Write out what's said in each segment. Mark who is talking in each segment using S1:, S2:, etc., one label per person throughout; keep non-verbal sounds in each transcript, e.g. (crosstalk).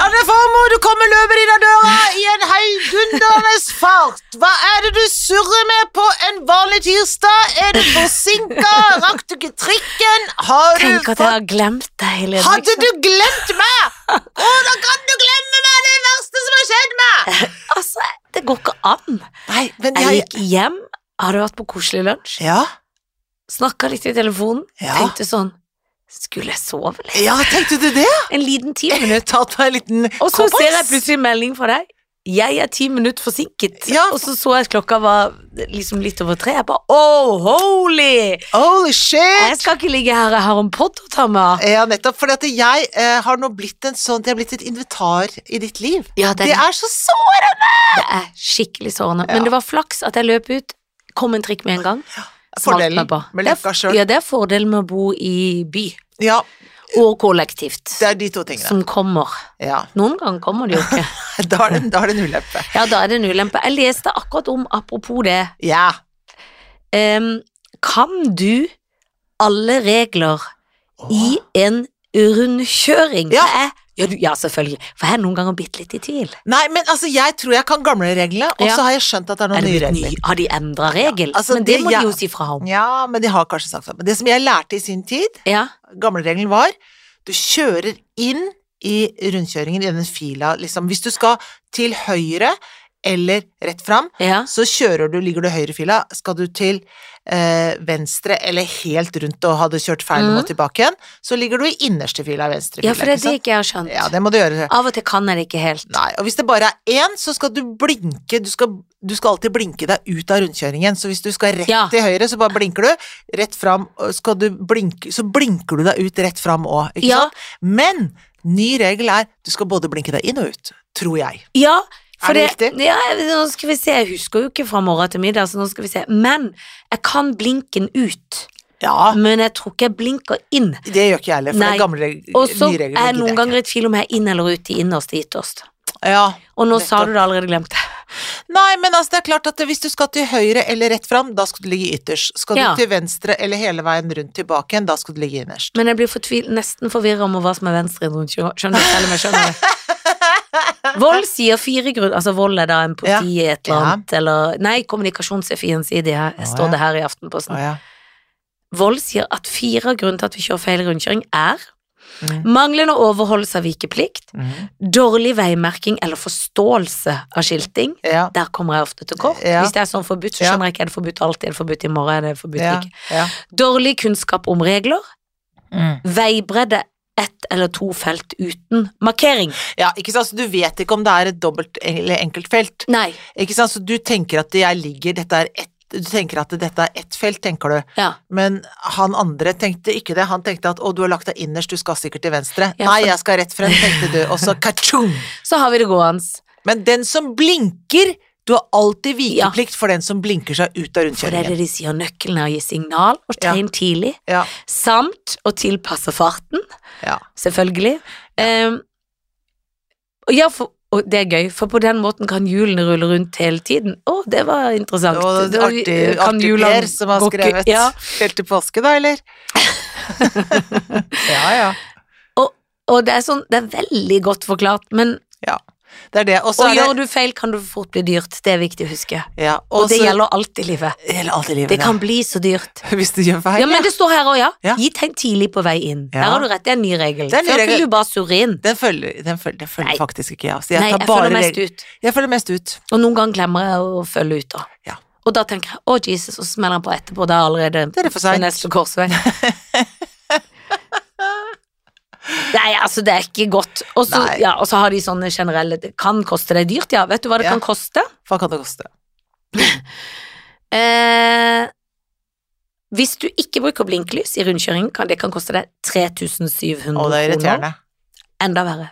S1: Kjære farmor, du kommer løpende inn av døra i en heidundrende fart. Hva er det du surrer med på en vanlig tirsdag? Er du forsinka? Rakk du ikke trikken? Har du
S2: Tenk at jeg har liksom. glemt deg, Helene.
S1: Hadde du glemt meg? Hvordan kan du glemme meg? Det er det verste som har skjedd meg.
S2: Altså, det går ikke an.
S1: Nei, men
S2: Jeg
S1: jeg
S2: gikk hjem, hadde vært på koselig lunsj,
S1: Ja,
S2: snakka litt i telefonen,
S1: Ja.
S2: tenkte sånn Skulle jeg sove litt?
S1: ja Eh, tenkte du det?
S2: En liten ti
S1: Jeg
S2: minutter.
S1: har tatt meg en liten
S2: Og så
S1: kopp
S2: ser jeg
S1: is.
S2: plutselig en melding fra deg. Jeg er ti minutter forsinket.
S1: Ja.
S2: Og så så jeg at klokka var liksom litt over tre. Jeg bare oh,
S1: Eh.
S2: holy!
S1: Holy shit!
S2: Jeg skal ikke ligge her, jeg har en podd å ta med av.
S1: Ja, nettopp. For at jeg eh, har nå blitt en sånn Jeg har blitt et invitar i ditt liv.
S2: Ja, det,
S1: Det er så sårende!
S2: det er skikkelig sårende.
S1: Ja.
S2: Men det var flaks at jeg løp ut. Kom en trikk med en gang. smalt
S1: Fordelen
S2: meg på.
S1: med
S2: Det er-
S1: løkka sjøl.
S2: Ja, det er fordelen med å bo i by.
S1: Ja,
S2: Og kollektivt.
S1: det er de to tingene.
S2: Som kommer.
S1: Ja.
S2: Noen ganger kommer det jo ikke.
S1: (laughs) Da er det, da er det en ulempe.
S2: Ja, da er det en ulempe. Jeg leste akkurat om, apropos det
S1: Ja.
S2: em, Kan du alle regler i
S1: Åh.
S2: en rundkjøring?
S1: Ja.
S2: For jeg- Ja, du, ja, selvfølgelig. For jeg er noen ganger bitte litt i tvil.
S1: Nei, men altså, jeg tror jeg kan gamle reglene, og
S2: Ja.
S1: så har jeg skjønt at det er
S2: Er
S1: noen
S2: det
S1: nye
S2: blitt
S1: regler.
S2: ny, har de endra regel?
S1: Ja, altså,
S2: Men det,
S1: det
S2: må
S1: jeg-
S2: de jo si fra om.
S1: Ja, men de har kanskje sagt det. Men det som jeg lærte i sin tid,
S2: Ja.
S1: gamleregelen var, du kjører inn i rundkjøringen i den fila, liksom. Hvis du skal til høyre eller rett fram,
S2: ja.
S1: så kjører du, ligger du i høyrefila, skal du til eh, venstre eller helt rundt og hadde kjørt feil og
S2: Mhm.
S1: må tilbake igjen, så ligger du i innerste fila i venstre
S2: Ja,
S1: fila.
S2: for det er
S1: ikke
S2: det
S1: sant?
S2: ikke jeg har skjønt.
S1: Ja, det må du gjøre.
S2: Av og til kan jeg det ikke helt.
S1: Nei, og hvis det bare er én, så skal du blinke, du skal, du skal alltid blinke deg ut av rundkjøringen, så hvis du skal rett
S2: Ja.
S1: til høyre, så bare blinker du, rett fram, og skal du blinke, så blinker du deg ut rett fram òg, ikke
S2: Ja.
S1: sant? Men ny regel er, du skal både blinke deg inn og ut, tror jeg.
S2: Ja, for
S1: Er det riktig?
S2: Ja, nå skal vi se. Jeg husker jo ikke fra morgen til middag, så nå skal vi se. Men jeg kan blinken ut.
S1: Ja,
S2: Men jeg tror ikke jeg blinker inn.
S1: det gjør ikke jeg heller, for den
S2: Nei.
S1: gamle reg- nye
S2: Og så
S1: regelen
S2: er
S1: gidder
S2: jeg noen
S1: ikke.
S2: ganger i tvil om jeg er inn eller ut i innerst i ytterst.
S1: Ja.
S2: Og nå sa
S1: Nettopp.
S2: du det allerede glemt.
S1: Nei, men altså, det er klart at hvis du skal til høyre eller rett fram, da skal du ligge ytterst. Skal
S2: Ja.
S1: du til venstre eller hele veien rundt tilbake igjen, da skal du ligge innerst.
S2: Men jeg blir fortvil, nesten forvirra om hva som er venstre i en rundkjøring. Skjønner du selv om jeg skjønner det?
S1: (laughs)
S2: Vold sier fire grunner Altså vold er da en
S1: Ja.
S2: politi et eller
S1: Ja.
S2: annet, eller Nei, kommunikasjonssjefen sier det her.
S1: Å,
S2: Står
S1: ja.
S2: det her i Aftenposten.
S1: Å ja.
S2: Vold sier at fire av grunnen til at vi kjører feil rundkjøring er
S1: Mm.
S2: manglende overholdelse av vikeplikt,
S1: Mhm.
S2: dårlig veimerking eller forståelse av skilting.
S1: ja.
S2: Der kommer jeg ofte til kort.
S1: Ja.
S2: Hvis det er sånn forbudt, så
S1: Ja.
S2: skjønner jeg ikke er det forbudt alltid, er det forbudt i morgen, er det forbudt
S1: Ja.
S2: ikke.
S1: ja. Mm.
S2: Dårlig kunnskap om regler, veibredde ett eller to felt uten markering.
S1: ja, ikke sant, så du vet ikke om det er et dobbelt eller enkeltfelt.
S2: Nei.
S1: Ikke sant, så du tenker at jeg ligger, dette er ett du tenker at dette er ett felt, tenker du,
S2: Ja.
S1: men han andre tenkte ikke det. Han tenkte at å, du har lagt deg innerst, du skal sikkert til venstre.
S2: Ja,
S1: Nei,
S2: for-
S1: jeg skal rett frem, tenkte du, og
S2: (laughs)
S1: så ka-chung!
S2: Så har vi det gående.
S1: Men den som blinker Du har alltid vikeplikt for den som blinker seg ut av
S2: For det er
S1: rundkjøringen.
S2: det de sier, nøkkelen er å gi signal og
S1: Ja.
S2: tegn tidlig,
S1: Ja,
S2: samt å tilpasse farten.
S1: ja.
S2: selvfølgelig. Ehm, og ja, for, og det er gøy, for på den måten kan hjulene rulle rundt hele tiden. Å, det var interessant.
S1: Og
S2: Da
S1: artig,
S2: kan
S1: artig
S2: hjulene
S1: Per som har
S2: gå ikke-
S1: skrevet
S2: Ja,
S1: (laughs) helt til påske, da,
S2: (laughs)
S1: eller? (laughs) ja, ja.
S2: og det er, sånn, det er veldig godt forklart, men
S1: Det er det. Og så
S2: og
S1: er
S2: gjør
S1: det
S2: du feil, kan det fort bli dyrt. Det er viktig å huske.
S1: ja,
S2: Og det
S1: så-
S2: gjelder alt i livet.
S1: det gjelder alt i livet.
S2: Det
S1: ja.
S2: kan bli så dyrt.
S1: (laughs) Hvis du gjør feil.
S2: Ja, men det står her òg, ja.
S1: Ja.
S2: Gi tegn tidlig på vei inn. Der
S1: Ja.
S2: har du rett, det er en ny regel.
S1: Det er en ny
S2: Før
S1: regel.
S2: kunne du bare surre inn.
S1: Den følger, den følger, den følger
S2: Nei.
S1: faktisk ikke jeg. Så jeg
S2: Nei,
S1: tar
S2: jeg
S1: bare
S2: følger mest
S1: reg-
S2: ut.
S1: Jeg følger mest ut.
S2: Og noen ganger glemmer jeg å følge ut da.
S1: Ja.
S2: Og da tenker jeg, å Jesus, og så smeller han på etterpå, det er allerede
S1: er det for sent.
S2: ved neste
S1: (laughs)
S2: korsvei. Nei, altså det er ikke godt. Og så
S1: Nei.
S2: ja, og så har de sånne generelle, det kan koste deg dyrt, ja. Vet du hva det
S1: Ja.
S2: kan koste?
S1: Hva kan det koste?
S2: Eh, hvis du ikke bruker blinklys i rundkjøringen, kan det kan koste deg 3700
S1: Å, det er
S2: kroner.
S1: irriterende.
S2: Enda verre.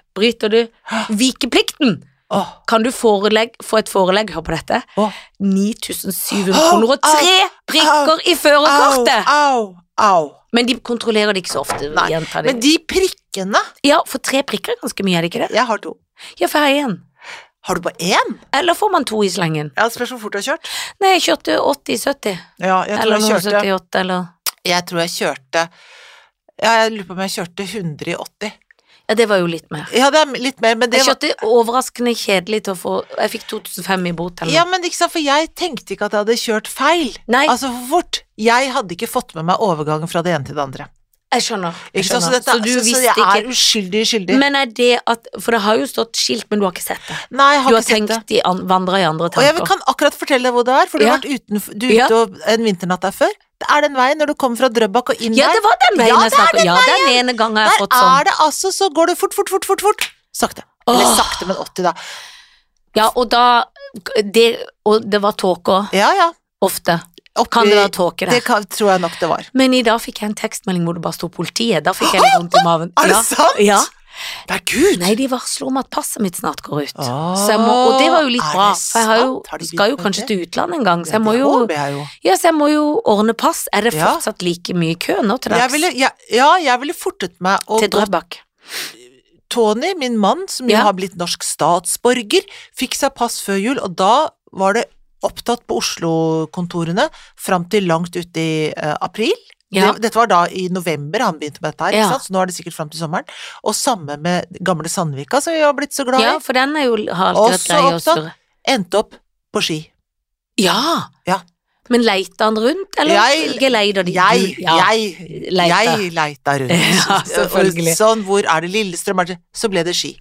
S1: (gasps)
S2: Bryter du vikeplikten?
S1: Åh,
S2: kan du forelegg, få et forelegg, hør på dette,
S1: Åh.
S2: 9700 kroner og
S1: Au,
S2: tre prikker i
S1: Au,
S2: førerkortet!
S1: au, au.
S2: Men de kontrollerer det ikke så ofte.
S1: Nei,
S2: gjentar de.
S1: Men de prikkene
S2: Ja, for tre prikker er ganske mye, er det ikke det?
S1: Jeg har to.
S2: Ja, for her er én.
S1: Har du bare én?
S2: Eller får man to i slengen?
S1: Ja, det spørs hvor fort du har kjørt.
S2: Nei, jeg kjørte 80-70.
S1: Ja, jeg tror
S2: Eller
S1: jeg kjørte
S2: 78, eller
S1: Jeg tror jeg kjørte ja, Jeg lurer på om jeg kjørte 100 i 80.
S2: Ja, det var jo litt mer.
S1: Ja, det er litt mer, men det
S2: Jeg
S1: var
S2: kjørte overraskende kjedelig til å få Jeg fikk 2005 i bot. eller
S1: Ja,
S2: noe.
S1: men ikke sant, for jeg tenkte ikke at jeg hadde kjørt feil.
S2: Nei,
S1: Altså for fort. Jeg hadde ikke fått med meg overgangen fra det ene til det andre.
S2: jeg skjønner. Jeg
S1: Ikke sant?
S2: skjønner.
S1: Så, dette,
S2: så du
S1: så, så
S2: visste
S1: jeg
S2: ikke
S1: er uskyldig skyldig.
S2: Men er det at For det har jo stått skilt, men du har ikke sett det.
S1: Nei, jeg
S2: Du
S1: har
S2: har
S1: ikke sett det.
S2: tenkt i an, vandra i andre
S1: Og jeg vil-
S2: tanker.
S1: kan akkurat fortelle deg hvor det er, for du har
S2: Ja.
S1: vært utenfor, du er
S2: Ja.
S1: ute og- en vinternatt der før. Det er den veien når du kommer fra Drøbak og inn
S2: Ja, det
S1: der.
S2: var den veien
S1: Ja,
S2: jeg snakket Ja, den ene gangen har jeg
S1: Der
S2: fått sånn.
S1: er det altså, så går det fort, fort, fort, fort, fort. Sakte. Eller
S2: Åh.
S1: sakte, men 80 da.
S2: Ja, og da det, Og det var tåke òg.
S1: Ja, ja.
S2: Ofte.
S1: Oppi-
S2: Kan det være tåke
S1: Det
S2: der.
S1: kan, tror jeg nok det var.
S2: Men i dag fikk jeg en tekstmelding hvor det bare sto 'politiet'. Da fikk jeg litt vondt i maven.
S1: Er det
S2: Ja.
S1: sant?
S2: Ja.
S1: Det er gud!
S2: Nei, de varsler om at passet mitt snart går ut.
S1: Åh,
S2: Så jeg må, og det var jo litt
S1: Ah, er det
S2: bra, for jeg har jo,
S1: sant? Har de
S2: skal jo
S1: begynt med det?
S2: kanskje til utlandet en gang, så jeg må
S1: Det
S2: jo,
S1: håper jeg jo.
S2: ja, så jeg må jo ordne pass. Er det
S1: Ja.
S2: fortsatt like mye kø nå til
S1: Jeg
S2: dags?
S1: ville, ja, ja, jeg ville fortet meg å
S2: Til
S1: gå
S2: Drøbak.
S1: Tony, min mann, som jo
S2: Ja.
S1: har blitt norsk statsborger, fikk seg pass før jul, og da var det opptatt på Oslo-kontorene fram til langt ut i eh, april.
S2: Ja.
S1: Det, dette var da i november han begynte med dette her,
S2: Ja.
S1: ikke sant? så nå er det sikkert fram til sommeren. Og samme med gamle Sandvika, som vi har blitt så glad i.
S2: ja, for den er jo, har alltid vært
S1: Også
S2: grei å
S1: opptatt.
S2: surre.
S1: Endte opp på ski.
S2: Ja.
S1: Ja.
S2: Men leita han rundt, eller
S1: Jeg-
S2: geleider de?
S1: Jeg,
S2: Du- ja.
S1: jeg,
S2: leita.
S1: jeg leita rundt.
S2: (laughs) Ja, selvfølgelig.
S1: Og Sånn, hvor er det Lillestrøm? Er det- Så ble det ski.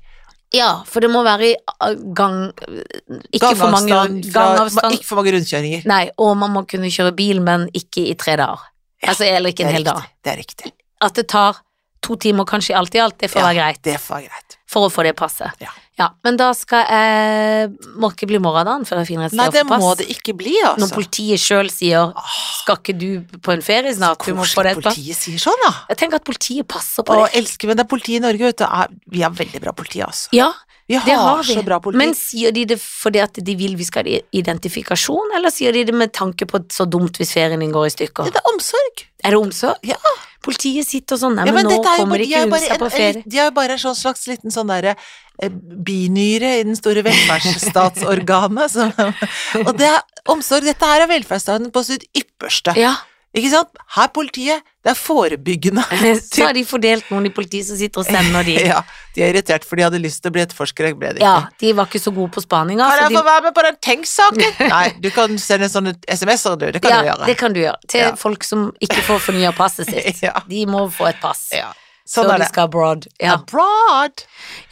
S2: ja, for det må være i uh, gang... Ikke for mange
S1: Gangavstand fra-
S2: gangavstand.
S1: Ikke for mange rundkjøringer.
S2: Nei, og man må kunne kjøre bil, men ikke i tre dager.
S1: Ja,
S2: altså, eller ikke
S1: Det er
S2: en hel dag.
S1: riktig, Det er riktig.
S2: At det tar to timer kanskje alt i alt, det får
S1: Ja.
S2: være greit.
S1: Det var greit.
S2: For å få det passet.
S1: Ja.
S2: Men da skal jeg Må ikke bli morgendagen før jeg finner et sted
S1: Nei,
S2: å
S1: det
S2: få pass.
S1: må det ikke bli,
S2: Når
S1: altså.
S2: politiet sjøl sier
S1: Åh,
S2: skal ikke du på en ferie snart, du må få
S1: Koselig
S2: det et pass.
S1: politiet sier sånn, da.
S2: Jeg tenker at politiet passer på
S1: Og
S2: det.
S1: elsker men det er politi i Norge, vet du. Er- Vi har veldig bra politi, altså.
S2: Ja,
S1: Vi har,
S2: det har vi.
S1: så bra politi.
S2: Men sier de det fordi at de vil vi skal ha identifikasjon, eller sier de det med tanke på at så dumt hvis ferien din går i
S1: Ja,
S2: stykker?
S1: det er omsorg.
S2: Er det omsorg?
S1: Ja.
S2: Politiet sitter sånn, nei,
S1: Ja, men
S2: men, nå
S1: dette er jo
S2: kommer
S1: bare-
S2: de
S1: de er
S2: ikke
S1: jo
S2: unna
S1: bare
S2: seg på
S1: en-
S2: ferie.
S1: De er jo bare en sånn slags liten sånn derre eh, binyre i den store velferdsstatsorganet. som- og det er omsorg. Dette her er velferdsstaten på sitt ypperste.
S2: (laughs) Ja.
S1: Ikke sant? Her politiet, det er forebyggende.
S2: (laughs) Så har de fordelt noen i politiet som sitter og sender de.
S1: (laughs) Ja, de er irritert, for de hadde lyst til å bli etterforskere, ble det ikke.
S2: Ja, de var ikke så gode på spaninga.
S1: Kan
S2: så
S1: jeg
S2: de,
S1: få være med på den Tenk-saken?
S2: (laughs)
S1: Nei, du kan sende sånne SMS-er, du. Det kan
S2: ja,
S1: du gjøre.
S2: det kan du gjøre. Til
S1: Ja.
S2: folk som ikke får fornya passet sitt.
S1: (laughs) Ja.
S2: De må få et pass.
S1: Ja. Sånn
S2: før
S1: er
S2: de
S1: det.
S2: skal abroad. Ja,
S1: Abroad.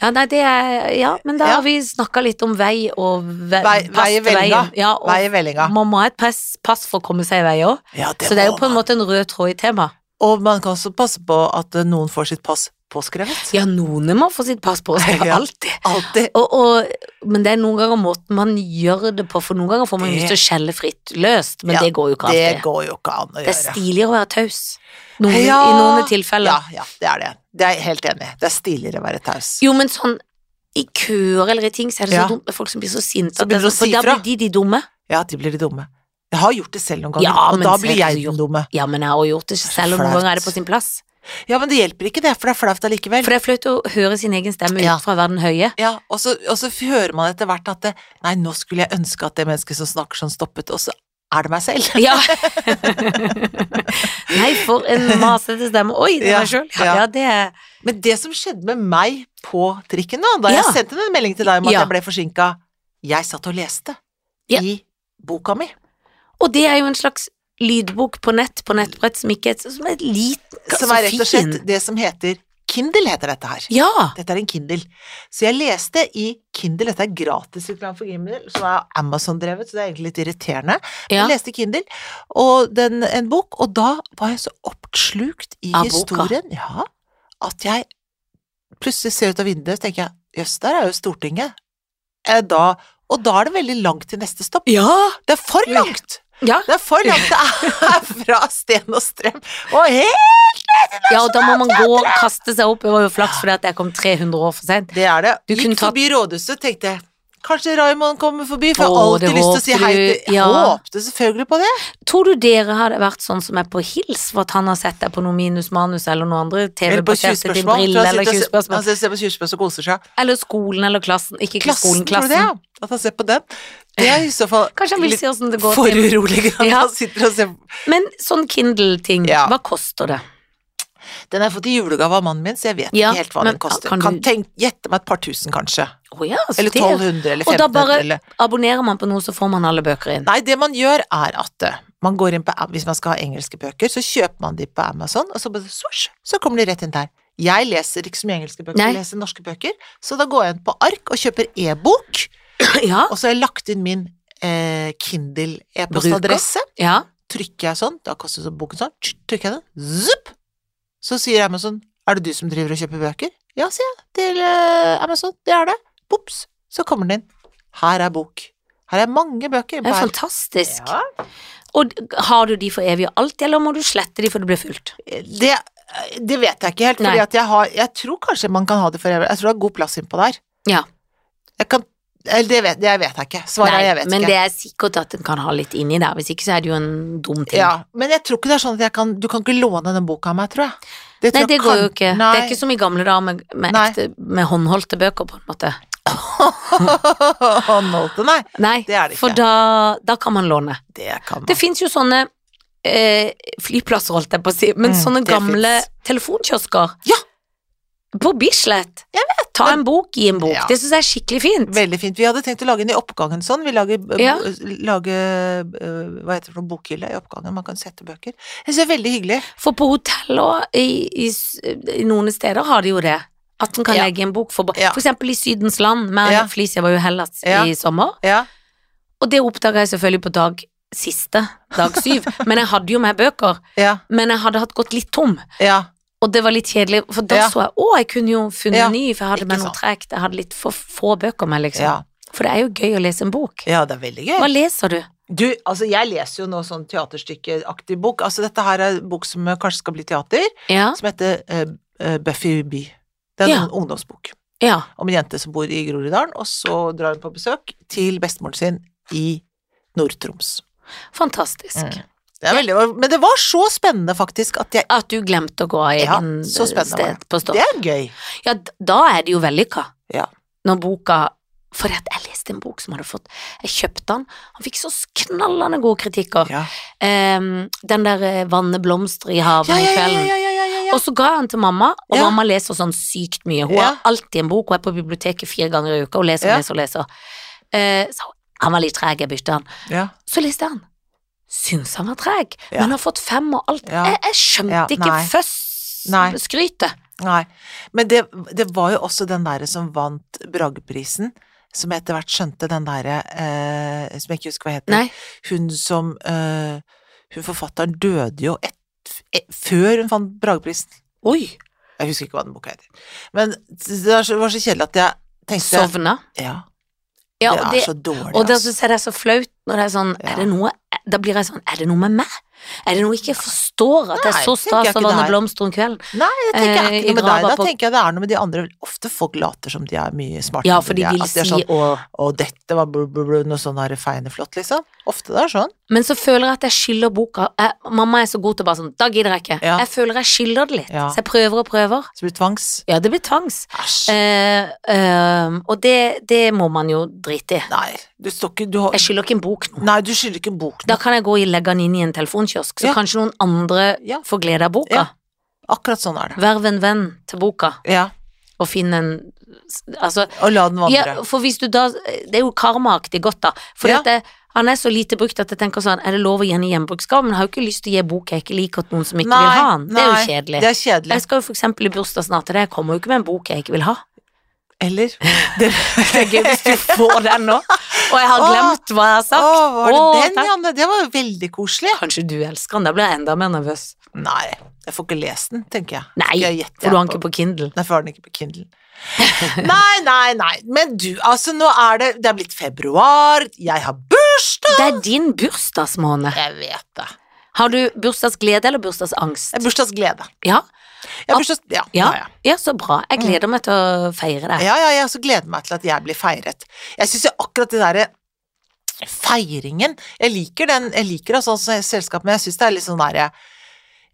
S2: ja nei, det er Ja, men da
S1: Ja.
S2: har vi snakka litt om vei og ve
S1: Vei-
S2: pass
S1: vei i
S2: til
S1: vellinga.
S2: veien. Ja, og
S1: Vei i vellinga.
S2: man må ha et pass, pass for å komme seg i vei òg.
S1: Ja, det
S2: Så det er jo
S1: må
S2: på en
S1: man.
S2: måte en rød tråd i temaet.
S1: Og man kan også passe på at eh, noen får sitt pass påskrevet.
S2: Ja, noen må få sitt pass på seg,
S1: (laughs) Ja.
S2: alltid.
S1: Alltid.
S2: Og, og, men det er noen ganger måten man gjør det på, for noen ganger får man
S1: Det-
S2: lyst til å skjelle fritt løst, men
S1: Ja,
S2: det går jo ikke
S1: Det
S2: alltid.
S1: går jo ikke an å
S2: Det er
S1: gjøre.
S2: stiligere å være taus. Noen, I
S1: Ja.
S2: noen
S1: Ja,
S2: tilfeller.
S1: ja, det er det. Det er jeg helt enig i. Det er stiligere å være taus.
S2: Jo, men sånn i køer eller i ting, så er det
S1: Ja.
S2: så dumt med folk som blir så sinte.
S1: Så
S2: at det er
S1: begynner du
S2: sånn,
S1: å si
S2: for da
S1: fra.
S2: blir de de dumme.
S1: Ja, de blir de dumme. Jeg har gjort det selv noen ganger,
S2: Ja,
S1: og
S2: men
S1: da
S2: så
S1: blir
S2: er
S1: jeg
S2: det så
S1: den dumme.
S2: Ja, men jeg har gjort det selv, og noen
S1: Flaut.
S2: ganger er det på sin plass.
S1: Ja, men det hjelper ikke det, for det er flaut allikevel.
S2: For det er flaut å høre sin egen stemme
S1: Ja.
S2: ut fra verden høye.
S1: Ja, og så, og så hører man etter hvert at det, nei, nå skulle jeg ønske at det mennesket som snakker sånn stoppet, og så er det meg selv.
S2: Ja.
S1: (laughs)
S2: Nei, for en masete stemme. Oi, det
S1: Ja,
S2: var jeg sjøl.
S1: ja.
S2: Ja, det er
S1: Men det som skjedde med meg på trikken da, da
S2: Ja.
S1: jeg sendte en melding til deg om at
S2: Ja.
S1: jeg ble forsinka, jeg satt og leste
S2: Ja.
S1: i boka mi.
S2: Og det er jo en slags lydbok på nett, på nettbrett, som ikke er som er liten,
S1: Som
S2: så
S1: er rett og slett
S2: fin.
S1: det som heter Kindle, heter dette her.
S2: Ja,
S1: Dette er en Kindle. Så jeg leste i Kindle, dette er gratisreklame for Kindle, som er Amazon-drevet, så det er egentlig litt irriterende.
S2: ja.
S1: Jeg leste Kindle, og den, en bok, og da var jeg så oppslukt i
S2: Av boka?
S1: historien ja, at jeg plutselig ser ut av vinduet og tenker jeg, jøss, der er jo Stortinget. Eh, Da, og da er det veldig langt til neste stopp.
S2: Ja,
S1: Det er for langt!
S2: ja.
S1: Det er for langt! Det er (laughs) fra sten og strøm og helt
S2: ja, og da må man gå og kaste seg opp. Det var jo flaks fordi at jeg kom 300 år for sent.
S1: Det er det.
S2: Du
S1: Gikk
S2: kunne tatt-
S1: forbi rådhuset, tenkte jeg. Kanskje Raymond kommer forbi, for jeg har
S2: Å,
S1: alltid
S2: det
S1: lyst til å si
S2: håper
S1: hei til
S2: du,
S1: Jeg
S2: ja.
S1: håpte selvfølgelig på det.
S2: Tror du dere hadde vært sånn som er på hils for at han har sett deg på noe minusmanus eller noe andre
S1: Eller på
S2: TV-baserte
S1: 20-spørsmål.
S2: din brille
S1: tror jeg
S2: eller
S1: sitter og ser-
S2: 20 spørsmål?
S1: Han sitter og ser på 20 spørsmål og koser seg.
S2: Eller skolen eller klassen. Ikke
S1: klassen,
S2: klassen, skolen,
S1: tror du det?
S2: klassen.
S1: ja? At han ser på den? Det er i så fall
S2: (laughs) Kanskje han vil
S1: litt
S2: se åssen det går til.
S1: foruroligende.
S2: (laughs) Ja.
S1: Han sitter og ser
S2: Men sånn Kindle-ting,
S1: Ja.
S2: hva koster det?
S1: Den har jeg fått i julegave av mannen min, så jeg vet
S2: Ja,
S1: ikke helt hva
S2: men
S1: den koster.
S2: kan
S1: Kan,
S2: du-
S1: tenk, gjette meg et par tusen, kanskje.
S2: Å ja, så
S1: Eller
S2: det-
S1: 1200, eller
S2: Og da
S1: 1500,
S2: bare-
S1: eller
S2: Abonnerer man på noe, så får man alle bøker inn.
S1: Nei, det man gjør er at eh, man går inn på Am- Hvis man skal ha engelske bøker, så kjøper man de på Amazon, og så bare swoosh, så kommer de rett inn der. Jeg leser ikke så mye engelske bøker,
S2: Nei.
S1: jeg leser norske bøker, så da går jeg inn på ark og kjøper e-bok,
S2: Ja,
S1: og så har jeg lagt inn min eh, Kindle-e-postadresse,
S2: ja.
S1: trykker jeg sånn, da koster så boken sånn, tsk, trykker jeg den, zupp, så sier Amazon, er det du som driver og kjøper bøker? Ja, sier jeg, til eh, Amazon, det er det. Bops, så kommer den inn. Her er bok. Her er mange bøker.
S2: Det er
S1: Her-
S2: fantastisk.
S1: Ja.
S2: Og har du de for evig og alltid, eller må du slette de for det blir fullt?
S1: Det, det vet jeg ikke helt, fordi
S2: Nei.
S1: at jeg har Jeg tror kanskje man kan ha det for evig. Jeg tror det er god plass innpå der.
S2: Ja.
S1: Jeg kan Eller det vet, det vet jeg ikke. Svaret
S2: Nei,
S1: er jeg vet
S2: men
S1: ikke.
S2: det er sikkert at en kan ha litt inni der, hvis ikke så er det jo en dum ting.
S1: ja, men jeg tror ikke det er sånn at jeg kan Du kan ikke låne den boka av meg, tror jeg. tror
S2: Nei,
S1: jeg
S2: det går jo
S1: kan-
S2: ikke.
S1: Nei.
S2: Det
S1: (laughs)
S2: er ikke som i gamle dager med, med,
S1: Nei.
S2: ekte, med håndholdte bøker, på en måte.
S1: Håndholdte, nei.
S2: Nei,
S1: Det er det ikke.
S2: for da, da kan man låne.
S1: Det kan man.
S2: Det fins jo sånne eh, flyplasser, holdt jeg på å si, men
S1: Mm,
S2: sånne
S1: det
S2: gamle
S1: finnes.
S2: telefonkiosker.
S1: Ja.
S2: På Bislett. Ta en bok, gi en bok.
S1: Ja.
S2: Det syns jeg er skikkelig fint.
S1: Veldig fint. Vi hadde tenkt å lage den i oppgangen sånn. Vi lager, eh,
S2: Ja.
S1: bo- lage eh, hva heter det for noe, bokhylle i oppgangen. Man kan sette bøker. Jeg synes det er veldig hyggelig.
S2: For på hotell og i, i, s- i noen steder har de jo det. At en kan
S1: Ja.
S2: legge en bok for barn.
S1: Ja.
S2: For eksempel i Sydens land, med
S1: Ja.
S2: Felicia var jo i Hellas
S1: Ja.
S2: i sommer.
S1: Ja.
S2: Og det oppdaga jeg selvfølgelig på dag siste, dag
S1: (laughs)
S2: syv. men jeg hadde jo med bøker.
S1: Ja.
S2: Men jeg hadde hatt gått litt tom,
S1: Ja.
S2: og det var litt kjedelig. For da
S1: Ja.
S2: så jeg å, jeg kunne jo funnet
S1: Ja,
S2: ny, for jeg hadde
S1: ikke
S2: med noe
S1: sant.
S2: tregt. Jeg hadde litt for få bøker med, liksom.
S1: Ja.
S2: For det er jo gøy å lese en bok.
S1: ja, det er veldig gøy.
S2: Hva leser du?
S1: Du, altså jeg leser jo nå sånn teaterstykkeaktig bok. Altså dette her er en bok som eh, kanskje skal bli teater,
S2: Ja,
S1: som heter eh, eh, Buffy by. Det er
S2: Ja.
S1: en sånn ungdomsbok
S2: ja.
S1: om en jente som bor i Groruddalen, og så drar hun på besøk til bestemoren sin i Nord-Troms.
S2: Fantastisk.
S1: Mm. Det er veldig, men det var så spennende faktisk at jeg
S2: At du glemte å gå av
S1: Ja,
S2: egen
S1: så
S2: eh,
S1: spennende var
S2: sted på stopp.
S1: Det er gøy.
S2: Ja, d- da er det jo vellykka.
S1: Ja.
S2: Når boka For at jeg leste en bok som hadde fått Jeg kjøpte den. Han fikk så knallende gode kritikker.
S1: Ja,
S2: Ehm, den der eh, 'Vanne blomster i havet'
S1: ja, ja,
S2: om
S1: ja,
S2: kvelden.
S1: ja, ja, ja, ja, ja.
S2: Og så ga jeg den til mamma, og
S1: Ja.
S2: mamma leser sånn sykt mye. Hun
S1: Ja.
S2: har alltid en bok, og er på biblioteket fire ganger i uka og leser og
S1: Ja.
S2: leser og leser. Eh, så han var litt treg, jeg bytta han.
S1: ja.
S2: Så leste jeg han. Syns han var treg,
S1: Ja.
S2: men har fått fem og alt.
S1: Ja.
S2: Jeg, jeg skjønte
S1: Ja,
S2: ikke
S1: nei. Nei.
S2: føss-skrytet.
S1: Nei. Men det, det var jo også den derre som vant Brageprisen, som jeg etter hvert skjønte den derre eh, Som jeg ikke husker hva heter.
S2: Nei.
S1: hun som eh, Hun forfatteren døde jo et, e- før hun fant Brageprisen.
S2: Oi.
S1: Jeg husker ikke hva den boka heter. Men det er så- var så kjedelig at jeg tenkte
S2: Sovna.
S1: Ja,
S2: Ja,
S1: det
S2: og
S1: er
S2: det,
S1: så dårlig,
S2: og da
S1: altså.
S2: syns jeg det er så flaut når det er sånn
S1: Ja.
S2: er det noe, Da blir jeg sånn Er det noe med meg? Er det noe jeg ikke forstår? At jeg
S1: Nei,
S2: så
S1: tenker jeg
S2: stas av
S1: ikke det
S2: Vanne
S1: er.
S2: Blomster om kvelden?
S1: Nei, jeg tenker jeg er
S2: Eh,
S1: ikke
S2: i
S1: noe med deg. Da
S2: Drava på-
S1: tenker jeg det er noe med de andre. Ofte folk later som de er mye smartere.
S2: Ja,
S1: enn
S2: for de
S1: er.
S2: vil
S1: At de er
S2: si
S1: sånn
S2: og
S1: Å, dette var blu, blu, blu, noe sånn her feineflott, liksom. Ofte det er sånn.
S2: Men så føler jeg at jeg skylder boka jeg, Mamma er så god til å bare sånn Da gidder jeg ikke.
S1: Ja.
S2: Jeg føler jeg skylder det litt.
S1: Ja.
S2: Så jeg prøver og prøver.
S1: Så blir det tvangs.
S2: Ja, det blir tvangs.
S1: Æsj.
S2: Eh, eh, og det, det må man jo drite i.
S1: Nei, du står ikke du har,
S2: Jeg skylder ikke en bok nå.
S1: Nei, du skylder ikke en bok
S2: Da
S1: nå.
S2: kan jeg gå og legge den inn i en telefonkiosk, så
S1: Ja.
S2: kanskje noen andre
S1: Ja.
S2: får glede av boka.
S1: Ja. Akkurat sånn er det.
S2: Verv en venn til boka,
S1: Ja.
S2: og finn en Altså
S1: Og la den vandre.
S2: Ja, for hvis du da Det er jo karmaaktig godt, da. For
S1: Ja.
S2: at det, han er så lite brukt at jeg tenker sånn Er det lov å gi han i hjemmebruksgave? Men jeg har jo ikke lyst til å gi bok jeg ikke liker til noen som ikke vil ha den. Det er jo
S1: nei,
S2: kjedelig.
S1: Det er kjedelig.
S2: Jeg skal jo for eksempel i bursdag snart til deg, jeg kommer jo ikke med en bok jeg ikke vil
S1: (laughs)
S2: ha.
S1: Eller
S2: (laughs)
S1: (laughs)
S2: Det er gøy hvis du får den nå, og jeg har
S1: Åh.
S2: glemt hva jeg har
S1: Å,
S2: sagt.
S1: var det
S2: Å,
S1: den,
S2: takk.
S1: Janne? Det var jo veldig koselig.
S2: Kanskje du elsker den, da blir jeg enda mer nervøs.
S1: Nei, jeg får ikke lest den, tenker jeg.
S2: Nei,
S1: Skal jeg gjette
S2: for du har
S1: på-
S2: den ikke på Kindle.
S1: Nei, for jeg har den ikke på
S2: (laughs)
S1: Kindle. nei, nei, nei. Men du, altså, nå er det Det er blitt februar, jeg har bursdag!
S2: Det er din bursdagsmåned.
S1: Jeg vet det.
S2: Har du bursdagsglede eller bursdagsangst?
S1: Det er bursdagsglede.
S2: Ja,
S1: Jeg har bursdags... Ja,
S2: ja,
S1: ja, ja.
S2: ja, så bra. Jeg gleder meg til å feire det.
S1: Ja, ja, jeg også gleder meg til at jeg blir feiret. Jeg syns jo akkurat det derre feiringen Jeg liker den, jeg liker altså sånn selskap, men jeg syns det er litt sånn derre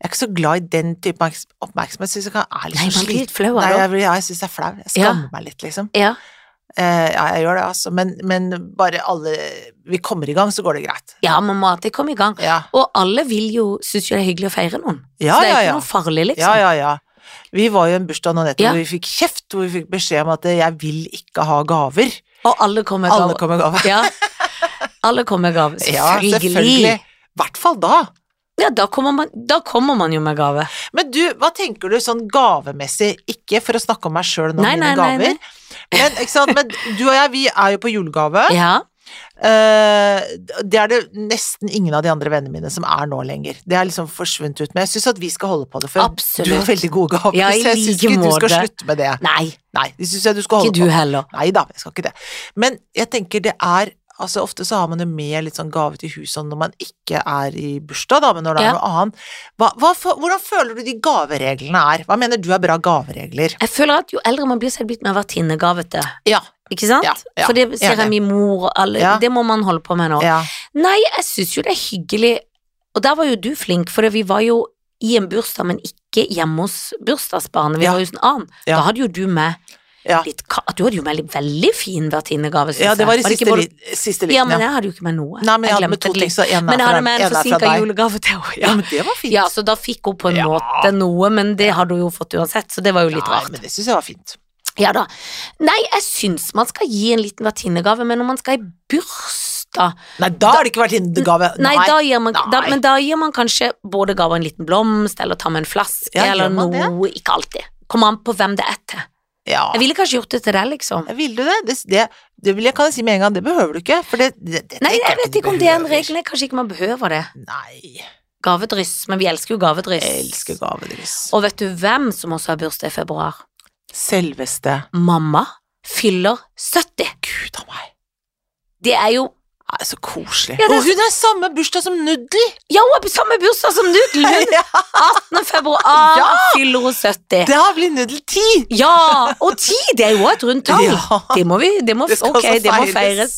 S1: jeg er ikke så glad i den type oppmerks- oppmerksomhet. Jeg synes jeg kan, er litt
S2: Nei,
S1: så
S2: man blir
S1: slit-
S2: litt flau av
S1: Nei,
S2: det.
S1: jeg, blir- ja, jeg syns jeg er flau. Jeg
S2: Ja.
S1: skammer meg litt, liksom.
S2: Ja.
S1: Eh, ja, jeg gjør det, altså. Men, men bare alle Vi kommer i gang, så går det greit.
S2: Ja, man må alltid komme i gang.
S1: Ja,
S2: Og alle vil jo synes jo det er hyggelig å feire noen.
S1: ja,
S2: så det er
S1: ja.
S2: ikke
S1: ja.
S2: noe farlig, liksom.
S1: Ja, ja, ja. Vi var jo i en bursdag nå nettopp
S2: Ja.
S1: hvor vi fikk kjeft, hvor vi fikk beskjed om at eh, jeg vil ikke ha gaver.
S2: Og alle kommer med
S1: Alle
S2: gave.
S1: kom med gave.
S2: Ja. Alle kommer med gave.
S1: (laughs) Ja,
S2: Selvfølgelig. Ja,
S1: selvfølgelig. I hvert fall da.
S2: da, kommer man, da kommer man jo med gave.
S1: Men du, hva tenker du sånn gavemessig? Ikke for å snakke om meg sjøl nå,
S2: Nei,
S1: mine
S2: nei, nei,
S1: gaver. Men, ikke sant? Men du og jeg, vi er jo på julegave.
S2: Ja.
S1: Eh, det er det nesten ingen av de andre vennene mine som er nå lenger. Det er liksom forsvunnet ut. Men jeg syns at vi skal holde på det, for
S2: Absolutt.
S1: du har veldig gode gaver.
S2: Ja, i
S1: så jeg syns
S2: like
S1: ikke du skal
S2: måte.
S1: slutte med det.
S2: Nei,
S1: Nei, det syns jeg du skal
S2: ikke
S1: holde
S2: du
S1: på.
S2: heller.
S1: Nei da, jeg skal ikke det. Men jeg tenker det er Altså Ofte så har man jo med litt sånn gave til huset sånn når man ikke er i bursdag, da, men når det
S2: Ja.
S1: er noe annet. Hva, hva, fo- hvordan føler du de gavereglene er? Hva mener du er bra gaveregler?
S2: Jeg føler at jo eldre man blir, så er det blitt mer vertinnegavete.
S1: Ja.
S2: Ikke sant?
S1: Ja, ja,
S2: For det ser jeg
S1: enig.
S2: min mor og alle.
S1: Ja.
S2: Det må man holde på med nå.
S1: ja.
S2: Nei, jeg syns jo det er hyggelig. Og der var jo du flink, for vi var jo i en bursdag, men ikke hjemme hos bursdagsbarnet. Vi
S1: Ja.
S2: var jo hos en annen.
S1: Ja.
S2: Da hadde jo du med
S1: Ja.
S2: litt ka- Du hadde jo med litt veldig fin vertinnegave, syns
S1: ja, det var i
S2: jeg. ikke
S1: siste,
S2: både-
S1: li siste
S2: Ja,
S1: liten,
S2: men
S1: ja.
S2: jeg hadde jo ikke med noe.
S1: Nei, men jeg hadde med
S2: glemte
S1: to
S2: det
S1: ting,
S2: litt.
S1: så en
S2: Men
S1: er
S2: jeg
S1: fra,
S2: hadde med
S1: en
S2: en
S1: er fra
S2: forsinka
S1: deg.
S2: julegave til henne.
S1: Ja,
S2: Ja.
S1: men det var fint.
S2: ja, så da fikk hun på en
S1: Ja.
S2: måte noe, men det hadde hun jo fått uansett, så det var jo litt
S1: Ja,
S2: rart.
S1: men det syns jeg var fint.
S2: Ja da. Nei, jeg syns man skal gi en liten vertinnegave, men når man skal i bursdag
S1: Nei, da har det ikke vært innegave.
S2: Nei, da gir man, da,
S1: nei.
S2: men da gir man kanskje både gave og en liten blomst, eller ta med en flaske,
S1: Ja, gjør
S2: eller
S1: man
S2: noe. Ikke alltid. Kommer an på hvem det er til.
S1: ja.
S2: Jeg ville kanskje gjort det til deg, liksom.
S1: Vil du det? Det, det, det vil jeg, kan jeg si med en gang, det behøver du ikke. For det, det, det
S2: Nei,
S1: tenker
S2: jeg
S1: ikke
S2: vet
S1: du
S2: ikke om det er en
S1: behøver.
S2: regel. Kanskje ikke man behøver det.
S1: Nei.
S2: Gavedryss, men vi elsker jo gavedryss.
S1: Jeg elsker gavedryss.
S2: Og vet du hvem som også har bursdag i februar?
S1: Selveste
S2: Mamma fyller 70.
S1: Gud a meg.
S2: Det er jo
S1: Det er så koselig.
S2: Ja, det er
S1: Og hun har samme bursdag som Nudel!
S2: Ja, hun har samme bursdag som Nudel! Hun
S1: (laughs) Ja,
S2: 18. februar
S1: Ja!
S2: fyller hun 70.
S1: da blir Nudel ti!
S2: Ja! Og 10, det er jo et rundt
S1: (laughs)
S2: tall. Det må vi det må,
S1: det skal
S2: ok,
S1: også
S2: det må
S1: feires.
S2: feires.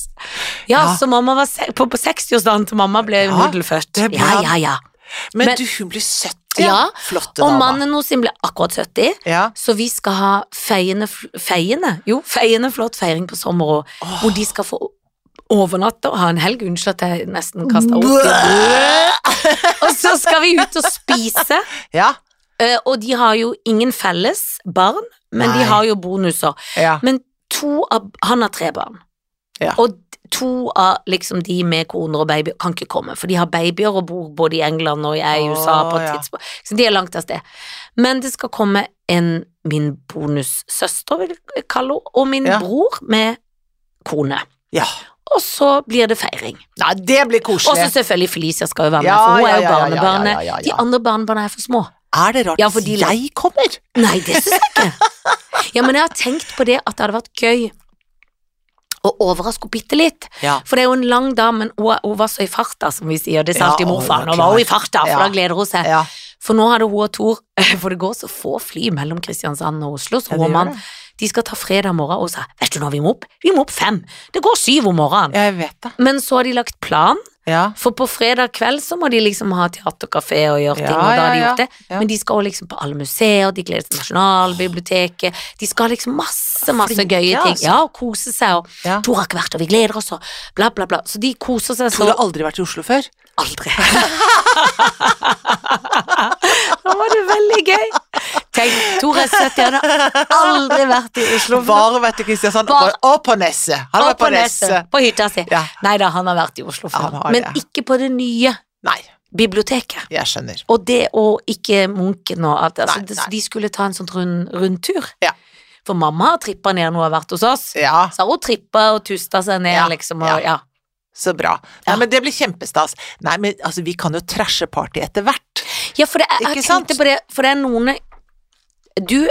S2: Ja,
S1: Ja.
S2: så mamma var se på, på 60-årsdagen til mamma ble
S1: Ja,
S2: Nudel født.
S1: det er
S2: Ja,
S1: bra.
S2: ja, ja.
S1: Men,
S2: Men-
S1: du, hun blir 70.
S2: Ja,
S1: Flotte
S2: Og
S1: dama.
S2: mannen hennes sin ble akkurat 70,
S1: Ja.
S2: så vi skal ha feiende fl- Feiende? Jo, feiende flott feiring på sommeren òg.
S1: Åh.
S2: Hvor de skal få overnatte og ha en helg. Unnskyld at jeg nesten kasta opp. Og så skal vi ut og
S1: (laughs)
S2: spise.
S1: Ja,
S2: Eh, Og de har jo ingen felles barn, men
S1: Nei.
S2: de har jo bonuser.
S1: ja.
S2: Men to av Han har tre barn.
S1: Ja.
S2: Og d- to av liksom de med koner og babyer kan ikke komme, for de har babyer og bor både i England og jeg i USA på
S1: Å,
S2: et
S1: ja.
S2: tidspunkt. Så de er langt av sted. Men det skal komme en min bonussøster, vil jeg kalle henne, og min
S1: Ja.
S2: bror med kone.
S1: ja.
S2: Og så blir det feiring.
S1: Nei, det blir
S2: Og så
S1: koselig.
S2: selvfølgelig Felicia skal jo være med,
S1: Ja,
S2: for hun
S1: ja,
S2: er jo
S1: ja, ja, ja, ja,
S2: barnebarnet.
S1: ja, ja, ja.
S2: De andre barnebarna er for små.
S1: Er det rart
S2: Ja, for
S1: at
S2: de-
S1: jeg kommer?
S2: Nei, det syns jeg ikke. Ja, men jeg har tenkt på det at det hadde vært gøy å overraske henne bitte litt.
S1: Ja.
S2: For det er jo en lang dag, men hun, hun var så i farta, som vi sier. Det sa
S1: Ja,
S2: alltid
S1: hun var
S2: morfaren. Nå var hun i farta, for
S1: Ja.
S2: da gleder hun seg.
S1: ja.
S2: For nå hadde hun og Tor (laughs) For det går så få fly mellom Kristiansand og Oslo, så
S1: Ja, det
S2: hun og
S1: gjør
S2: mann
S1: det.
S2: de skal ta fredag morgen og sa Vet du når vi må opp? Vi må opp fem. Det går syv om morgenen.
S1: Jeg vet det.
S2: Men så har de lagt plan,
S1: Ja.
S2: for på fredag kveld så må de liksom ha teaterkafé og gjøre ting,
S1: Ja,
S2: og da
S1: ja,
S2: har de
S1: ja,
S2: gjort det.
S1: ja.
S2: Men de skal også liksom på alle museer, de gleder seg til Nasjonalbiblioteket. De skal ha liksom masse, masse
S1: Flinke,
S2: gøye ting.
S1: altså.
S2: Ja, og kose seg, og
S1: Ja.
S2: Tor har ikke vært, og vi gleder oss, og bla, bla, bla. Så de koser seg
S1: Tor har
S2: så
S1: aldri vært i Oslo før.
S2: aldri. (laughs) Nå var det veldig gøy. Tenk, Tor er 70, han har aldri vært i Oslo. før.
S1: Bare vært i Kristiansand
S2: Bare-
S1: og på- og på Nesset. Han har
S2: Og
S1: vært på Nesset.
S2: På hytta si.
S1: Ja.
S2: Nei da, han har vært i Oslo før.
S1: Han har
S2: Men
S1: det.
S2: ikke på det nye
S1: Nei,
S2: biblioteket.
S1: jeg skjønner.
S2: Og det å ikke munken og alt altså,
S1: Nei,
S2: det-
S1: nei.
S2: De skulle ta en sånn rund, rundtur.
S1: Ja.
S2: For mamma har trippa ned når hun har vært hos oss.
S1: Ja,
S2: Så har hun trippa og tusta seg ned,
S1: Ja,
S2: liksom. Og, ja.
S1: så bra. Nei,
S2: Ja.
S1: men det blir kjempestas. Nei, men altså, vi kan jo trashe party etter hvert.
S2: ja, for det, er- jeg
S1: Ikke sant?
S2: tenkte på det, for det er noen Du,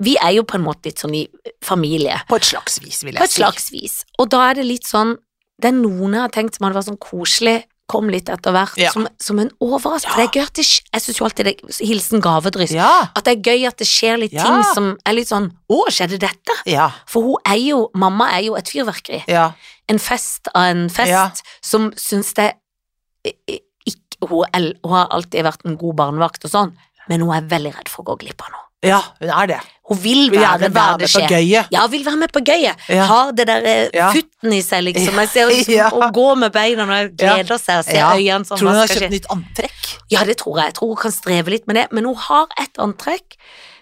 S2: vi er jo på en måte litt sånn i familie,
S1: På et slags vis, vil jeg
S2: på et
S1: si.
S2: slags vis. Og da er det litt sånn Det er noen jeg har tenkt som hadde vært sånn koselig, kom litt etter hvert,
S1: Ja.
S2: som, som en overraskelse. For Det er gøy at det skj- Jeg syns jo alltid det er Hilsen gavedryss.
S1: Ja,
S2: At det er gøy at det skjer litt
S1: Ja.
S2: ting som er litt sånn Å, skjedde dette?
S1: ja,
S2: For hun er jo Mamma er jo et fyrverkeri.
S1: ja.
S2: En fest av en fest
S1: Ja.
S2: som syns det i- i- ikke, hun, el- hun har alltid vært en god barnevakt og sånn, men hun er veldig redd for å gå glipp av noe.
S1: Ja, hun er det.
S2: Hun vil
S1: Vil
S2: være
S1: gjerne være med på
S2: verdensjef.
S1: gøyet.
S2: Ja, vil være med på gøyet.
S1: Ja.
S2: Har det der eh,
S1: Ja.
S2: futten i seg, liksom. Jeg
S1: (laughs)
S2: ser liksom,
S1: Ja.
S2: Hun går med beina når hun gleder seg og ser
S1: Ja.
S2: øynene
S1: Tror
S2: sånn.
S1: du hun
S2: hva
S1: har
S2: skal
S1: kjøpt
S2: skje?
S1: nytt antrekk?
S2: Ja, det tror jeg. Jeg tror hun kan streve litt med det. Men hun har et antrekk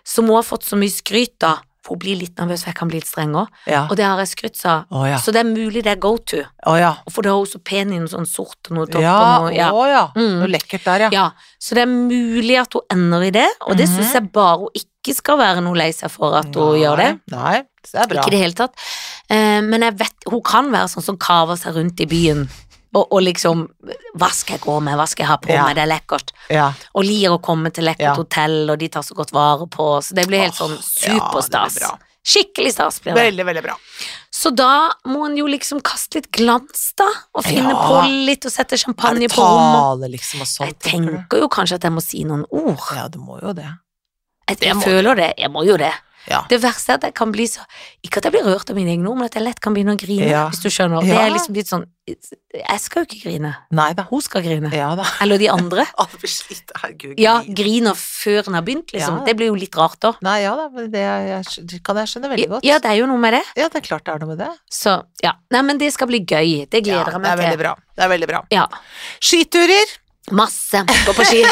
S2: som hun har fått så mye skryt av. For hun blir litt nervøs, for jeg kan bli litt streng òg.
S1: Ja.
S2: Og det har jeg skrytt av.
S1: Å ja.
S2: Så det er mulig det er go to.
S1: Å ja.
S2: Og For da er hun så pen i noe sånn sort og noe topp
S1: Ja,
S2: og noe ja.
S1: å ja.
S2: Mm.
S1: Noe lekkert der, ja.
S2: ja. Så det er mulig at hun ender i det, og det
S1: Mhm.
S2: syns jeg bare hun ikke skal være noe lei seg for at hun gjør det.
S1: Nei, det er bra.
S2: Ikke i det hele tatt. Eh, men jeg vet, hun kan være sånn som kaver seg rundt i byen. Og, og liksom Hva skal jeg gå med, hva skal jeg ha på
S1: Ja.
S2: meg, det er lekkert.
S1: Ja.
S2: Og lir å komme til lekkert
S1: Ja.
S2: hotell, og de tar så godt vare på oss. Det blir helt
S1: Åh,
S2: sånn
S1: ja, det blir
S2: superstas.
S1: bra.
S2: Skikkelig stas blir det.
S1: Veldig, veldig bra.
S2: Så da må en jo liksom kaste litt glans, da. Og finne
S1: Ja.
S2: på litt, og sette
S1: Er
S2: champagne
S1: det
S2: på rommet.
S1: tale, liksom, og sånt?
S2: Jeg tenker jo kanskje at jeg må si noen ord.
S1: Ja, du må jo det.
S2: Jeg,
S1: Det
S2: jeg
S1: må
S2: føler det. Jeg må jo det.
S1: Ja.
S2: Det verste er at jeg kan bli så Ikke at jeg blir rørt av mine egne ord, men at jeg lett kan begynne å grine,
S1: Ja.
S2: hvis du skjønner. Det
S1: Ja.
S2: er liksom litt sånn Jeg skal jo ikke grine.
S1: Nei da.
S2: Hun skal grine.
S1: Ja
S2: (laughs)
S1: da.
S2: Eller de
S1: (laughs)
S2: andre.
S1: Å, det blir slitt. Herregud.
S2: Ja,
S1: grin.
S2: griner før en har begynt, liksom.
S1: Ja.
S2: Det blir jo litt rart, da.
S1: Nei, ja da, men det, er- jeg, skj- det kan jeg skjønne veldig godt.
S2: Ja, det er jo noe med det.
S1: Ja, det er klart det er noe med det.
S2: Så ja. Nei, men det skal bli gøy. Det
S1: Ja,
S2: gleder jeg
S1: det er
S2: meg
S1: veldig
S2: til.
S1: bra. Det er veldig bra.
S2: Ja.
S1: Skiturer!
S2: Masse. Gå på
S1: (laughs)
S2: ski. Gå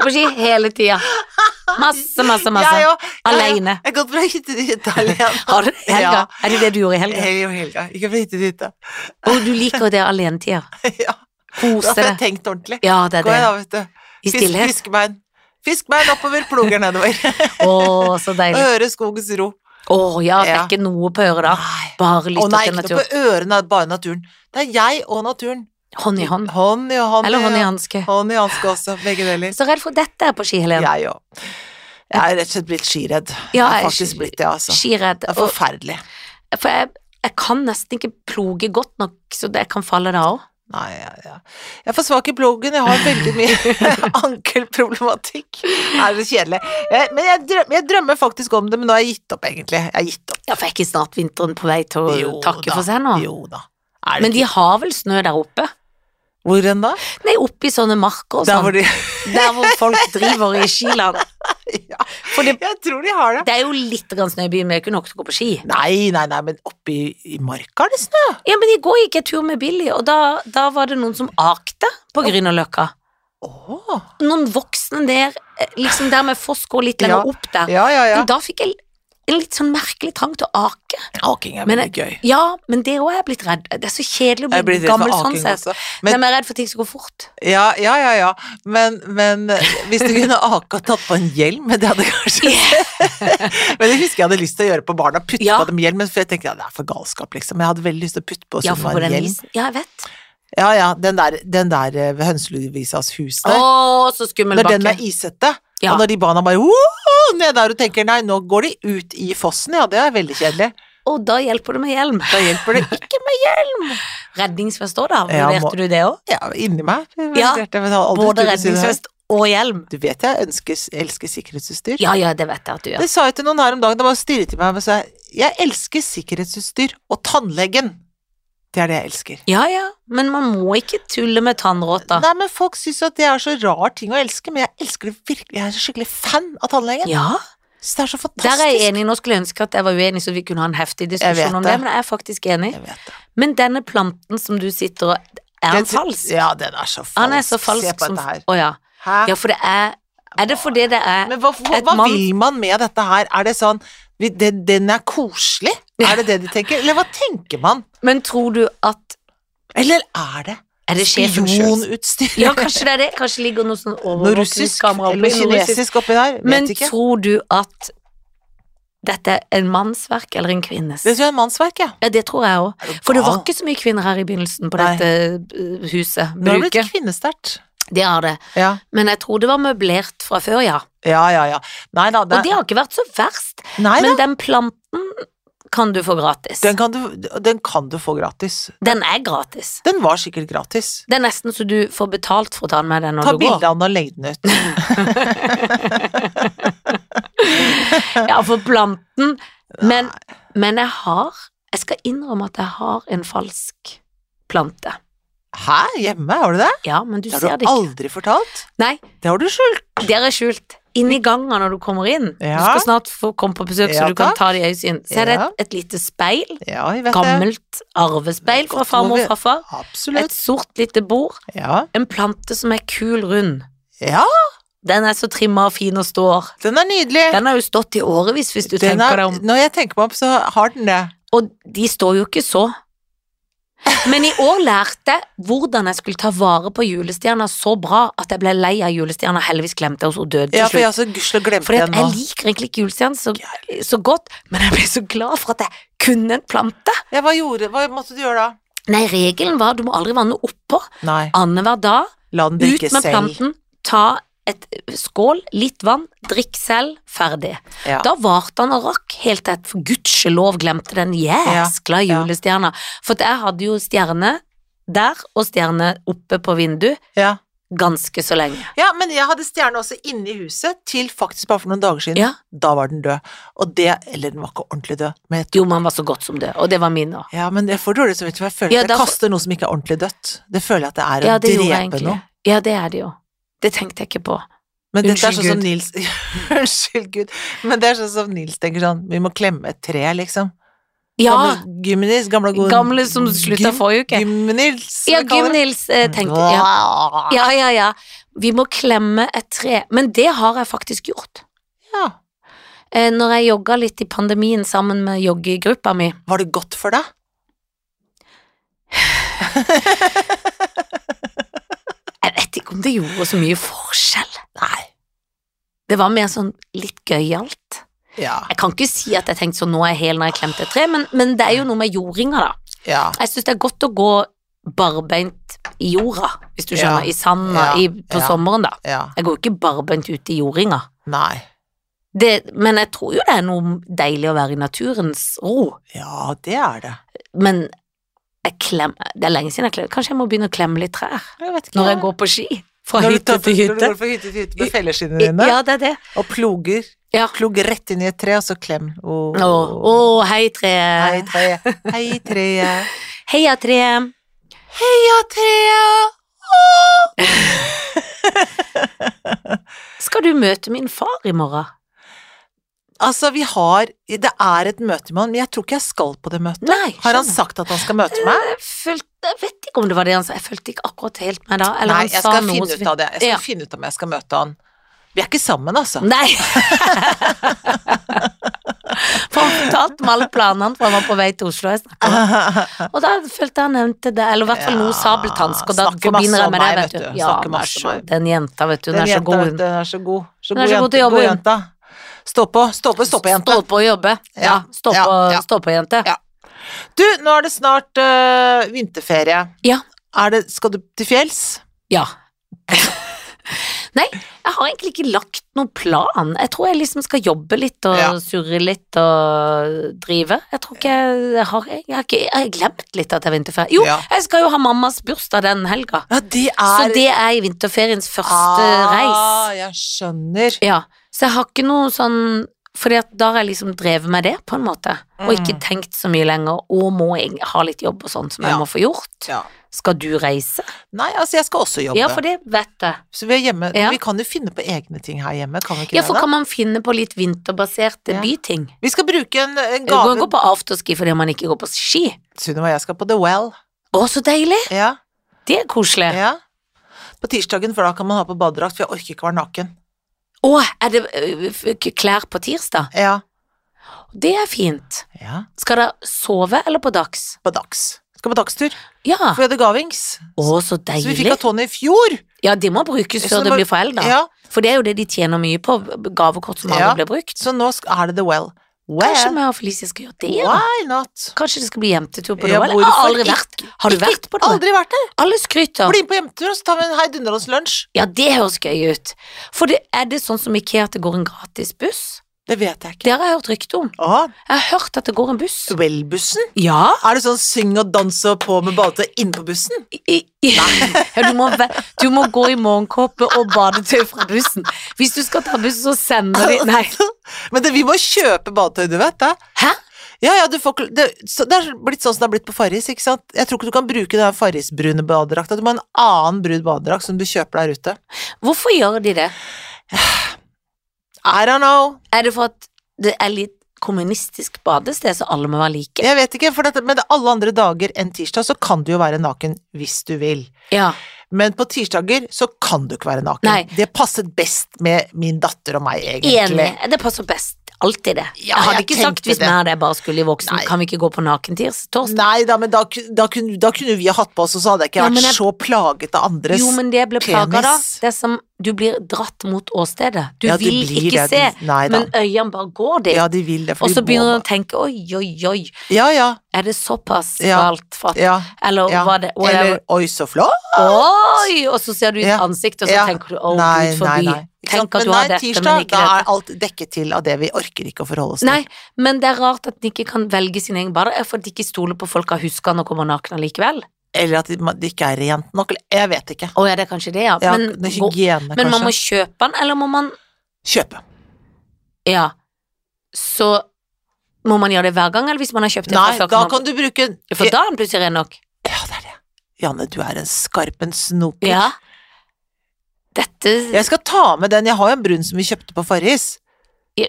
S2: på ski hele tida. Masse, masse, masse.
S1: Jeg òg.
S2: Alene.
S1: Jeg har gått fra hytte til hytte alene.
S2: (laughs) Har du det i helga?
S1: Ja.
S2: Er det det du gjorde i helga?
S1: Hele helga. Ikke fra hytte til hytte. (laughs)
S2: Og du liker jo det alenetida.
S1: Ja, da
S2: Kose
S1: får jeg
S2: deg.
S1: tenkt ordentlig.
S2: Ja, det er
S1: Går jeg da,
S2: det.
S1: vet du.
S2: I
S1: Fisk,
S2: stillhet.
S1: fiskbein. Fiskbein oppover, ploger
S2: (laughs)
S1: nedover.
S2: Å, så
S1: Og (laughs)
S2: deilig.
S1: hører skogens ro.
S2: Å ja, det er
S1: Ja.
S2: ikke noe på øret da.
S1: Nei.
S2: Bare
S1: Å nei,
S2: lytte Ah, til
S1: ikke noe
S2: naturen.
S1: på ørene, bare naturen. Det er jeg og naturen.
S2: Hånd i hånd.
S1: Hånd i hånd.
S2: Eller hånd i hanske.
S1: Hånd i hanske også, begge deler.
S2: (laughs) Så redd for dette er på ski, Helen.
S1: Jeg òg. Jeg er rett og slett blitt skiredd. jeg
S2: Ja,
S1: er
S2: jeg er
S1: faktisk
S2: ski-
S1: blitt det, altså.
S2: Skiredd.
S1: Det er
S2: Og,
S1: forferdelig.
S2: for jeg, jeg kan nesten ikke ploge godt nok, så det jeg kan falle da òg.
S1: Nei, ja, ja. jeg er for svak i plogen. Jeg har veldig
S2: (laughs)
S1: mye ankelproblematikk. Det er så kjedelig. Eh, Men jeg drømmer, jeg drømmer faktisk om det, men nå har jeg gitt opp, egentlig. Jeg har gitt opp.
S2: Ja, for er ikke snart vinteren på vei til å
S1: Jo
S2: takke
S1: da,
S2: for seg nå?
S1: Jo da. Er det
S2: Men de har vel snø der oppe?
S1: Hvor enn da?
S2: Nei, oppe i sånne marker og
S1: Der
S2: sånn.
S1: hvor de (laughs)
S2: Der hvor folk driver i skiland.
S1: Ja, jeg tror de har det.
S2: Det er jo litt grann snø i byen, men jeg kunne også gå på ski.
S1: Nei, nei, nei, men oppe i, i marka er det snø.
S2: Ja, men i går gikk jeg tur med Billy, og da, da var det noen som akte på Grünerløkka.
S1: Åh
S2: Noen voksne der, eh, liksom der med foss går litt lenger
S1: Ja,
S2: opp der.
S1: Ja, ja, ja.
S2: Men da fikk jeg en litt sånn merkelig trang til å ake.
S1: Aking er
S2: Men
S1: veldig gøy.
S2: Ja, men det òg er jeg blitt redd. Det er så kjedelig å
S1: Jeg
S2: bli
S1: blir redd
S2: gammel
S1: for
S2: sånn
S1: aking
S2: sett.
S1: også.
S2: Men...
S1: Men-
S2: jeg er redd for ting som går fort.
S1: Ja, ja, ja, ja. Men, men hvis du kunne aka og tatt på en hjelm, det hadde kanskje (laughs) Men det husker jeg hadde lyst til å gjøre på barna, putte
S2: Ja.
S1: på dem hjelm, men for jeg tenkte ja, det er for galskap, liksom. Men jeg hadde veldig lyst til å putte på
S2: Ja,
S1: Sunniva
S2: for på
S1: en
S2: den
S1: hjelm.
S2: isen. Ja, jeg vet.
S1: Ja, ja, den der, den der eh, ved Hønseluvisas hus
S2: Å,
S1: der.
S2: så skummel
S1: Når den
S2: bakke.
S1: er isete,
S2: Ja.
S1: og når de barna bare «Woho!» ned der og tenker nei, nå går de ut i fossen, ja, det er veldig kjedelig.
S2: Og da hjelper det med hjelm.
S1: Da hjelper det ikke med
S2: Redningsvest òg, da.
S1: Ja, må-
S2: Vurderte du det òg?
S1: Ja, inni meg. Jeg
S2: Ja,
S1: vurderte, men jeg har aldri
S2: Både
S1: trodd å si det her.
S2: redningsvest og hjelm.
S1: Du vet jeg ønsker, elsker sikkerhetsutstyr.
S2: Ja, ja, det vet jeg at du gjør.
S1: Det sa jeg til noen her om dagen, det bare stirret til meg og sa jeg elsker sikkerhetsutstyr og tannlegen. Det er det jeg elsker.
S2: Ja, ja, men man må ikke tulle med tannråta.
S1: Nei, men folk syns jo at det er så rar ting å elske, men jeg elsker det virkelig. Jeg er så skikkelig fan av tannlegen.
S2: Ja,
S1: Så det er så
S2: der
S1: fantastisk.
S2: er jeg enig. Nå skulle jeg ønske at jeg var uenig, så vi kunne ha en heftig
S1: Jeg vet
S2: diskusjon om det,
S1: det.
S2: men jeg er faktisk enig.
S1: Jeg vet det.
S2: Men denne planten som du sitter og Er han
S1: Den-
S2: falsk?
S1: Ja, den er så falsk.
S2: Han er så falsk
S1: Se på
S2: som
S1: dette her.
S2: Å ja.
S1: Hæ?
S2: Ja, for det er Er det fordi det er
S1: Men hva, hva,
S2: Et
S1: hva
S2: mann-
S1: vil man med dette her? Er det sånn vi- den, den er koselig? Er det det de tenker? Eller hva tenker man?
S2: Men tror du at
S1: Eller er det
S2: Er det sjefen sjøl?
S1: spionutstyr?
S2: Ja, kanskje det er det. Kanskje ligger noe sånn
S1: Noe russisk
S2: overvåkningskamera
S1: eller
S2: noe russisk.
S1: kinesisk oppi der? Vet
S2: Men
S1: ikke.
S2: tror du at dette er en mannsverk eller en kvinnes?
S1: Det tror jeg er mannsverk, ja.
S2: Ja, det tror jeg òg.
S1: Er du
S2: For det
S1: gal?
S2: var ikke så mye kvinner her i begynnelsen på
S1: Nei.
S2: dette eh, huset.
S1: Nå har det
S2: Bruket.
S1: blitt kvinnesterkt.
S2: Det har det.
S1: Ja.
S2: Men jeg tror det var møblert fra før, ja.
S1: ja, ja, ja. Nei da,
S2: Og
S1: det,
S2: det har ikke vært så verst.
S1: nei, da.
S2: Men den planten kan du få gratis.
S1: Den, kan du, den kan du få gratis.
S2: Den er gratis.
S1: Den var sikkert gratis.
S2: Det er nesten så du får betalt for å ta den med deg når
S1: Ta
S2: du går.
S1: bilde av den og legg den ut.
S2: Ja, for planten. Men, men jeg har Jeg skal innrømme at jeg har en falsk plante.
S1: Hæ, hjemme, har du det?
S2: Ja, men du
S1: Det
S2: ser
S1: har du
S2: det ikke.
S1: aldri fortalt.
S2: Nei,
S1: Det har du skjult.
S2: det er skjult. Inni ganga når du kommer inn. Du
S1: Ja.
S2: skal snart få komme på besøk, så
S1: Ja,
S2: du kan
S1: takk.
S2: ta det i øyesyn. Så er det
S1: Ja.
S2: et, et lite speil.
S1: Ja, jeg vet det.
S2: Gammelt arvespeil fra farmor og fra far. Et
S1: Absolutt.
S2: sort lite bord.
S1: Ja.
S2: En plante som er kul rund.
S1: ja,
S2: Den er så trimma og fin og står.
S1: den er nydelig.
S2: Den har jo stått i årevis, hvis du
S1: Den
S2: tenker
S1: er,
S2: deg om.
S1: når jeg tenker meg opp, så har den det.
S2: Og de står jo ikke så. Men i år lærte jeg hvordan jeg skulle ta vare på julestjerna så bra at jeg ble lei av julestjerna. Heldigvis glemte jeg hos hun døde til
S1: Ja, for jeg
S2: slutt.
S1: har så gudskjelov glemt
S2: Fordi
S1: den
S2: at
S1: nå.
S2: jeg liker egentlig ikke julestjerna så, så godt, men jeg ble så glad for at jeg kunne en plante.
S1: Ja, hva gjorde Hva måtte du gjøre da?
S2: Nei, regelen var du må aldri vanne oppå.
S1: Nei,
S2: Annenhver dag,
S1: la den
S2: ut
S1: drikke
S2: med
S1: selv.
S2: planten, ta et skål, litt vann, drikk selv, ferdig.
S1: Ja.
S2: Da varte han og rakk helt til jeg for gudskjelov glemte den jæskla
S1: ja.
S2: julestjerna. For at jeg hadde jo stjerne der og stjerne oppe på vinduet
S1: Ja.
S2: ganske så lenge.
S1: ja, men jeg hadde stjerne også inne i huset til faktisk bare for noen dager siden.
S2: Ja.
S1: Da var den død. Og det Eller den var ikke ordentlig død, men jeg
S2: Jo, men han var så godt som død, og det var min òg.
S1: ja, men jeg får dårlig samvittighet, for jeg føler
S2: Ja,
S1: at
S2: da
S1: jeg
S2: får-
S1: kaster noe som ikke er ordentlig dødt. Det føler jeg at det er å
S2: Ja, det gjorde jeg
S1: drepe
S2: egentlig.
S1: noe.
S2: Ja, det er det jo. Det tenkte jeg ikke på.
S1: Men dette er
S2: Unnskyld,
S1: sånn som
S2: Gud.
S1: Nils (laughs) Unnskyld, Gud. Men det er sånn som Nils tenker sånn Vi må klemme et tre, liksom.
S2: Ja,
S1: Gamle Gymnils, gamle gode
S2: gamle som slutta forrige uke.
S1: Gymnils,
S2: Ja, Gym-Nils eh, tenkte ja. ja, ja, ja. Vi må klemme et tre. Men det har jeg faktisk gjort.
S1: ja.
S2: Eh, når jeg jogga litt i pandemien sammen med joggegruppa mi,
S1: Var det godt for deg?
S2: Jeg vet ikke om det gjorde så mye forskjell.
S1: Nei.
S2: Det var mer sånn litt gøyalt.
S1: Ja.
S2: Jeg kan ikke si at jeg tenkte sånn nå er jeg hel når jeg klemte et tre, men, men det er jo noe med jordinga, da.
S1: ja.
S2: Jeg syns det er godt å gå barbeint i jorda, hvis du skjønner.
S1: Ja.
S2: I sanda
S1: Ja.
S2: i, på
S1: Ja.
S2: sommeren, da.
S1: Ja.
S2: Jeg går jo ikke barbeint ut i jordinga.
S1: Nei.
S2: Det, men jeg tror jo det er noe deilig å være i naturens ro.
S1: Ja, det er det.
S2: Men jeg klemmer Det er lenge siden jeg klemmer. Kanskje jeg må begynne å klemme litt trær
S1: Jeg vet
S2: når jeg går på ski? Fra
S1: Når du
S2: hytte
S1: tar-
S2: til
S1: Når du
S2: hytte?
S1: går fra hytte til hytte med felleskinnene dine,
S2: Ja, det er det.
S1: og ploger.
S2: Ja.
S1: Plog rett inn i et tre, og så klem. Åh.
S2: Å, å, hei tre.
S1: Hei,
S2: (laughs)
S1: treet. Hei, treet.
S2: Heia tre.
S1: Heia, treet.
S2: Skal du møte min far i morgen?
S1: Altså, vi har Det er et møte med han, men jeg tror ikke jeg skal på det møtet.
S2: Nei.
S1: Har han
S2: skjønner.
S1: sagt at han skal møte meg?
S2: Jeg, følte, jeg vet ikke om det var det han sa. Jeg følte ikke akkurat helt med da. Eller
S1: Nei,
S2: han
S1: jeg
S2: sa
S1: skal
S2: noe
S1: finne
S2: som-
S1: ut av det. Jeg skal
S2: Ja.
S1: finne ut om jeg skal møte han. Vi er ikke sammen, altså. (laughs)
S2: Nei. For han fortalte meg alle planene, for han var på vei til Oslo. Jeg snakket med han. og da følte jeg han nevnte det, eller i hvert fall noe
S1: Ja,
S2: sabeltannsk, og da
S1: snakker masse
S2: forbinder jeg
S1: om
S2: med det,
S1: meg,
S2: vet
S1: vet
S2: du.
S1: du.
S2: Ja,
S1: Snakker
S2: men
S1: masse om
S2: så-
S1: meg.
S2: den jenta, vet du, hun
S1: Den
S2: er så
S1: jenta,
S2: god.
S1: vet du,
S2: hun.
S1: Den er så god. Så
S2: Den er
S1: god,
S2: så god til
S1: jente.
S2: å jobbe,
S1: god
S2: hun.
S1: jenta. Stå på, stå på, stå på, jente.
S2: Stå på og jobbe. Ja,
S1: Ja,
S2: stå
S1: ja,
S2: på,
S1: ja.
S2: stå på, jente.
S1: Ja. Du, nå er det snart øh, vinterferie.
S2: Ja.
S1: Er det, skal du til fjells?
S2: Ja. (laughs) Nei, jeg har egentlig ikke lagt noen plan. Jeg tror jeg liksom skal jobbe litt og
S1: Ja.
S2: surre litt og drive. Jeg tror ikke jeg, jeg har Jeg har ikke, jeg har glemt litt at jeg er vinterferie. Jo,
S1: Ja.
S2: jeg skal jo ha mammas bursdag den helga.
S1: Ja, det
S2: Så
S1: er
S2: det er i vinterferiens første
S1: Ah,
S2: reis.
S1: Jeg skjønner.
S2: Ja. Så jeg har ikke noe sånn fordi at da har jeg liksom drevet med det, på en måte. Og ikke
S1: Mm.
S2: tenkt så mye lenger. Og må jeg ha litt jobb og sånn som
S1: Ja.
S2: jeg må få gjort.
S1: Ja.
S2: Skal du reise?
S1: Nei, altså jeg skal også jobbe.
S2: Ja, for det vet jeg.
S1: Så vi er hjemme.
S2: Ja.
S1: Vi kan jo finne på egne ting her hjemme, kan vi ikke
S2: Ja, for
S1: det? da?
S2: kan man finne på litt vinterbaserte
S1: Ja.
S2: byting?
S1: Vi skal bruke en, en
S2: Du kan
S1: gave
S2: gå på afterski fordi man ikke går på ski.
S1: Sunniva og jeg skal på The Well.
S2: Å, så deilig!
S1: Ja,
S2: Det er koselig.
S1: ja. På tirsdagen, for da kan man ha på badedrakt, for jeg orker ikke være naken.
S2: Å, er det ø, f- k- klær på tirsdag?
S1: Ja.
S2: Det er fint.
S1: ja.
S2: Skal dere sove eller på dags?
S1: På dags. Skal på dagstur,
S2: Ja.
S1: for vi hadde gavings.
S2: Å, så
S1: Så vi fikk
S2: Ah. deilig.
S1: av Tony i fjor.
S2: Ja, det må brukes
S1: Så
S2: før
S1: det
S2: det
S1: må-
S2: blir forelda.
S1: Ja.
S2: For det er jo det de tjener mye på, b- gavekort som
S1: Ja.
S2: aldri blir brukt.
S1: Så nå sk- er det The Well.
S2: Kanskje
S1: Well,
S2: meg og Felicia skal gjøre det? Ja.
S1: why not?
S2: Kanskje det skal bli jentetur på det?
S1: Ja,
S2: eller? Jeg har
S1: hvorfor
S2: aldri
S1: ikke?
S2: vært. Har du
S1: Ikke-
S2: vært på det?
S1: Aldri vært der.
S2: Alle skryter.
S1: Bli med på hjemmetur, og så tar vi en heidundrende lunsj.
S2: Ja, det høres gøy ut. For det, er det sånn som Ikea at det går en gratis buss?
S1: Det vet jeg ikke.
S2: Det har jeg hørt rykte om.
S1: Å,
S2: Jeg har hørt at det går en buss.
S1: Well-bussen?
S2: Ja?
S1: Er det sånn syng og dans og på med badetøy innpå bussen?
S2: I, i, ja du, må, ve- du må gå i morgenkåpe og badetøy fra bussen. Hvis du skal ta bussen, så sender de Nei.
S1: Men det, vi må kjøpe badetøy, du vet det.
S2: Hæ?
S1: Ja, ja, du får ikke det, så, det er blitt sånn som det har blitt på Farris, ikke sant? Jeg tror ikke du kan bruke den Farris-brune badedrakta. Du må ha en annen brun badedrakt som du kjøper der ute.
S2: Hvorfor gjør de det? Ah.
S1: I don't know.
S2: Er det for at det er litt kommunistisk badested, så alle må være like?
S1: Jeg vet ikke, for dette, men alle andre dager enn tirsdag så kan du jo være naken hvis du vil.
S2: Ja.
S1: Men på tirsdager så kan du ikke være naken.
S2: Nei.
S1: Det passet best med min datter og meg, egentlig.
S2: Enig. Det passer best. Alltid det.
S1: Ja,
S2: jeg hadde
S1: jeg
S2: ikke sagt
S1: tenkte
S2: hvis
S1: det.
S2: vi hadde bare skulle i voksen,
S1: Nei.
S2: kan vi ikke gå på nakentirs?
S1: Nei da, men da, ku- da, kunne, da kunne vi ha hatt på oss, og så hadde jeg ikke
S2: Ja, men
S1: vært
S2: jeg-
S1: så plaget av andres.
S2: Jo, men det ble plaga, da.
S1: penis.
S2: Det er som du blir dratt mot åstedet. Du
S1: Ja, det
S2: vil
S1: blir
S2: ikke
S1: det.
S2: se,
S1: Nei da.
S2: men øynene bare går dit.
S1: Ja, de vil det. for
S2: og
S1: de
S2: så
S1: må
S2: begynner
S1: bare-
S2: du å tenke oi, oi, oi,
S1: Ja, ja.
S2: er det såpass
S1: Ja.
S2: galt? For at,
S1: ja,
S2: Eller
S1: ja.
S2: var det
S1: Eller oi, så flott.
S2: Oi! Og så ser du ut
S1: Ja.
S2: ansiktet, og så
S1: Ja.
S2: tenker du å, gud
S1: Ikke
S2: forby.
S1: sant?
S2: Tenk at
S1: Men
S2: du har
S1: nei,
S2: dette,
S1: tirsdag,
S2: men ikke
S1: da
S2: dette.
S1: er alt dekket til av det vi orker ikke å forholde oss
S2: Nei, men det er rart at de ikke kan velge sin egen bader. For at de ikke stoler på folk har huska når kommer nakne allikevel.
S1: til. Eller at det man- det ikke er rent nok. eller- Jeg vet ikke.
S2: Å ja, det er kanskje det, ja.
S1: Ja,
S2: men
S1: det er
S2: gå-
S1: hygiene,
S2: men man må
S1: kanskje.
S2: kjøpe den, eller må man
S1: Kjøpe.
S2: Ja. Så må man gjøre det hver gang, eller hvis man har kjøpt det
S1: Nei,
S2: fra før?
S1: da
S2: man-
S1: kan du bruke
S2: For da er den plutselig ren nok.
S1: Ja, det er det. Janne, du er en skarp en snoker.
S2: Ja. Dette
S1: Jeg skal ta med den. Jeg har jo en brun som vi kjøpte på Farris.
S2: Ja.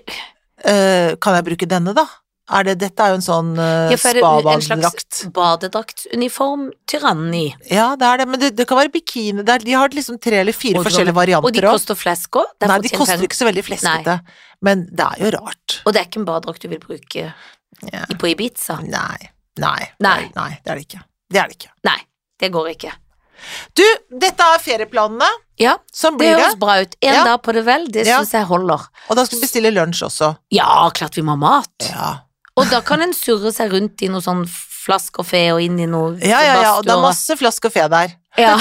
S1: Eh, kan jeg bruke denne, da? Er det, dette er jo en sånn uh,
S2: Ja, for er det en- en
S1: spabadedrakt.
S2: Badedraktuniform, tyranni.
S1: Ja, det er det, men det, det kan være bikini der. De har liksom tre eller fire
S2: Og du kan-
S1: forskjellige
S2: Og de
S1: varianter òg.
S2: koster flesk òg.
S1: Nei, de koster ikke så veldig fleskete. Men det er jo rart.
S2: Og det er ikke en badedrakt du vil bruke
S1: Ja.
S2: i- på Ibiza.
S1: Nei. Nei.
S2: Nei.
S1: Nei, det er det ikke. Det er det ikke.
S2: Nei, det går ikke.
S1: Du, dette er ferieplanene.
S2: Ja,
S1: Sånn
S2: det
S1: blir det.
S2: høres bra ut. En
S1: Ja.
S2: dag på det vel, det
S1: Ja.
S2: syns jeg holder.
S1: Og da skal vi bestille lunsj også.
S2: Ja, klart vi må ha mat.
S1: Ja.
S2: Og da kan en surre seg rundt i noe sånn flaskekafé og inn i noe
S1: Ja, ja, ja, og det er
S2: badstue.
S1: masse flask og fe der,
S2: Ja.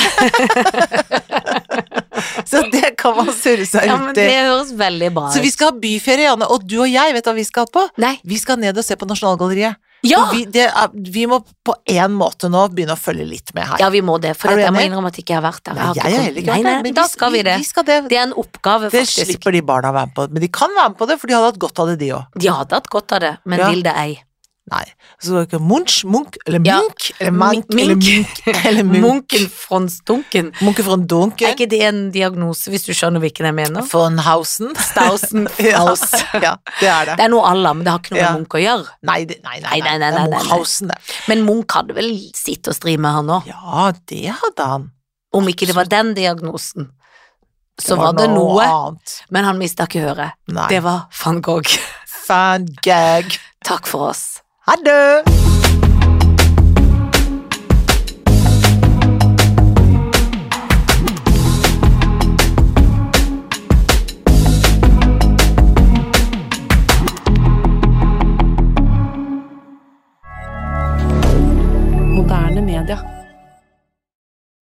S1: så det kan man surre seg
S2: ja, men
S1: rundt i.
S2: det høres veldig bra ut.
S1: Så vi skal ha byferie, Janne, og du og jeg, vet du hva vi skal på?
S2: Nei.
S1: Vi skal ned og se på Nasjonalgalleriet.
S2: Ja!
S1: Vi, det er, vi må på en måte nå begynne å følge litt med her.
S2: Ja, vi må det, for
S1: Er du
S2: jeg må
S1: enig?
S2: innrømme at jeg ikke har vært der.
S1: Nei,
S2: har
S1: jeg har
S2: kommet-
S1: heller ikke vært
S2: Nei,
S1: der,
S2: nei,
S1: men
S2: Da skal vi det.
S1: Vi skal det.
S2: Det er en oppgave,
S1: Det
S2: faktisk.
S1: slipper de barna å være med på, men de kan være med på det, for de hadde hatt godt av det, de òg.
S2: De hadde hatt godt av det, men
S1: Ja.
S2: vil det ei.
S1: Nei. Så det var ikke Munch, Munch, eller
S2: Ja.
S1: Munk, eller Mank, eller Munk,
S2: (laughs)
S1: eller Munk.
S2: Munken von Stunken.
S1: Munke von
S2: Er
S1: Dunken,
S2: ikke det en diagnose, hvis du skjønner hvilken jeg mener?
S1: von
S2: (laughs)
S1: Hausen.
S2: Stausen
S1: (laughs) Ja,
S2: Faus.
S1: ja, det er
S2: Det
S1: det.
S2: er noe Allah, men det har ikke noe
S1: Ja.
S2: med Munch å gjøre.
S1: Nei, det, nei, nei,
S2: Nei, nei,
S1: nei,
S2: nei,
S1: det
S2: nei,
S1: er
S2: nei.
S1: Munchhausen, det.
S2: Men Munch hadde vel sitt og stri med han òg.
S1: Ja, det hadde han.
S2: Om ikke det var den diagnosen, så
S1: var
S2: var, det noe.
S1: annet.
S2: Men han mista ikke høret.
S1: Nei.
S2: Det var van Gogh. (laughs)
S1: Fan gag.
S2: Takk for oss.
S1: Ha det!
S3: Moderne media.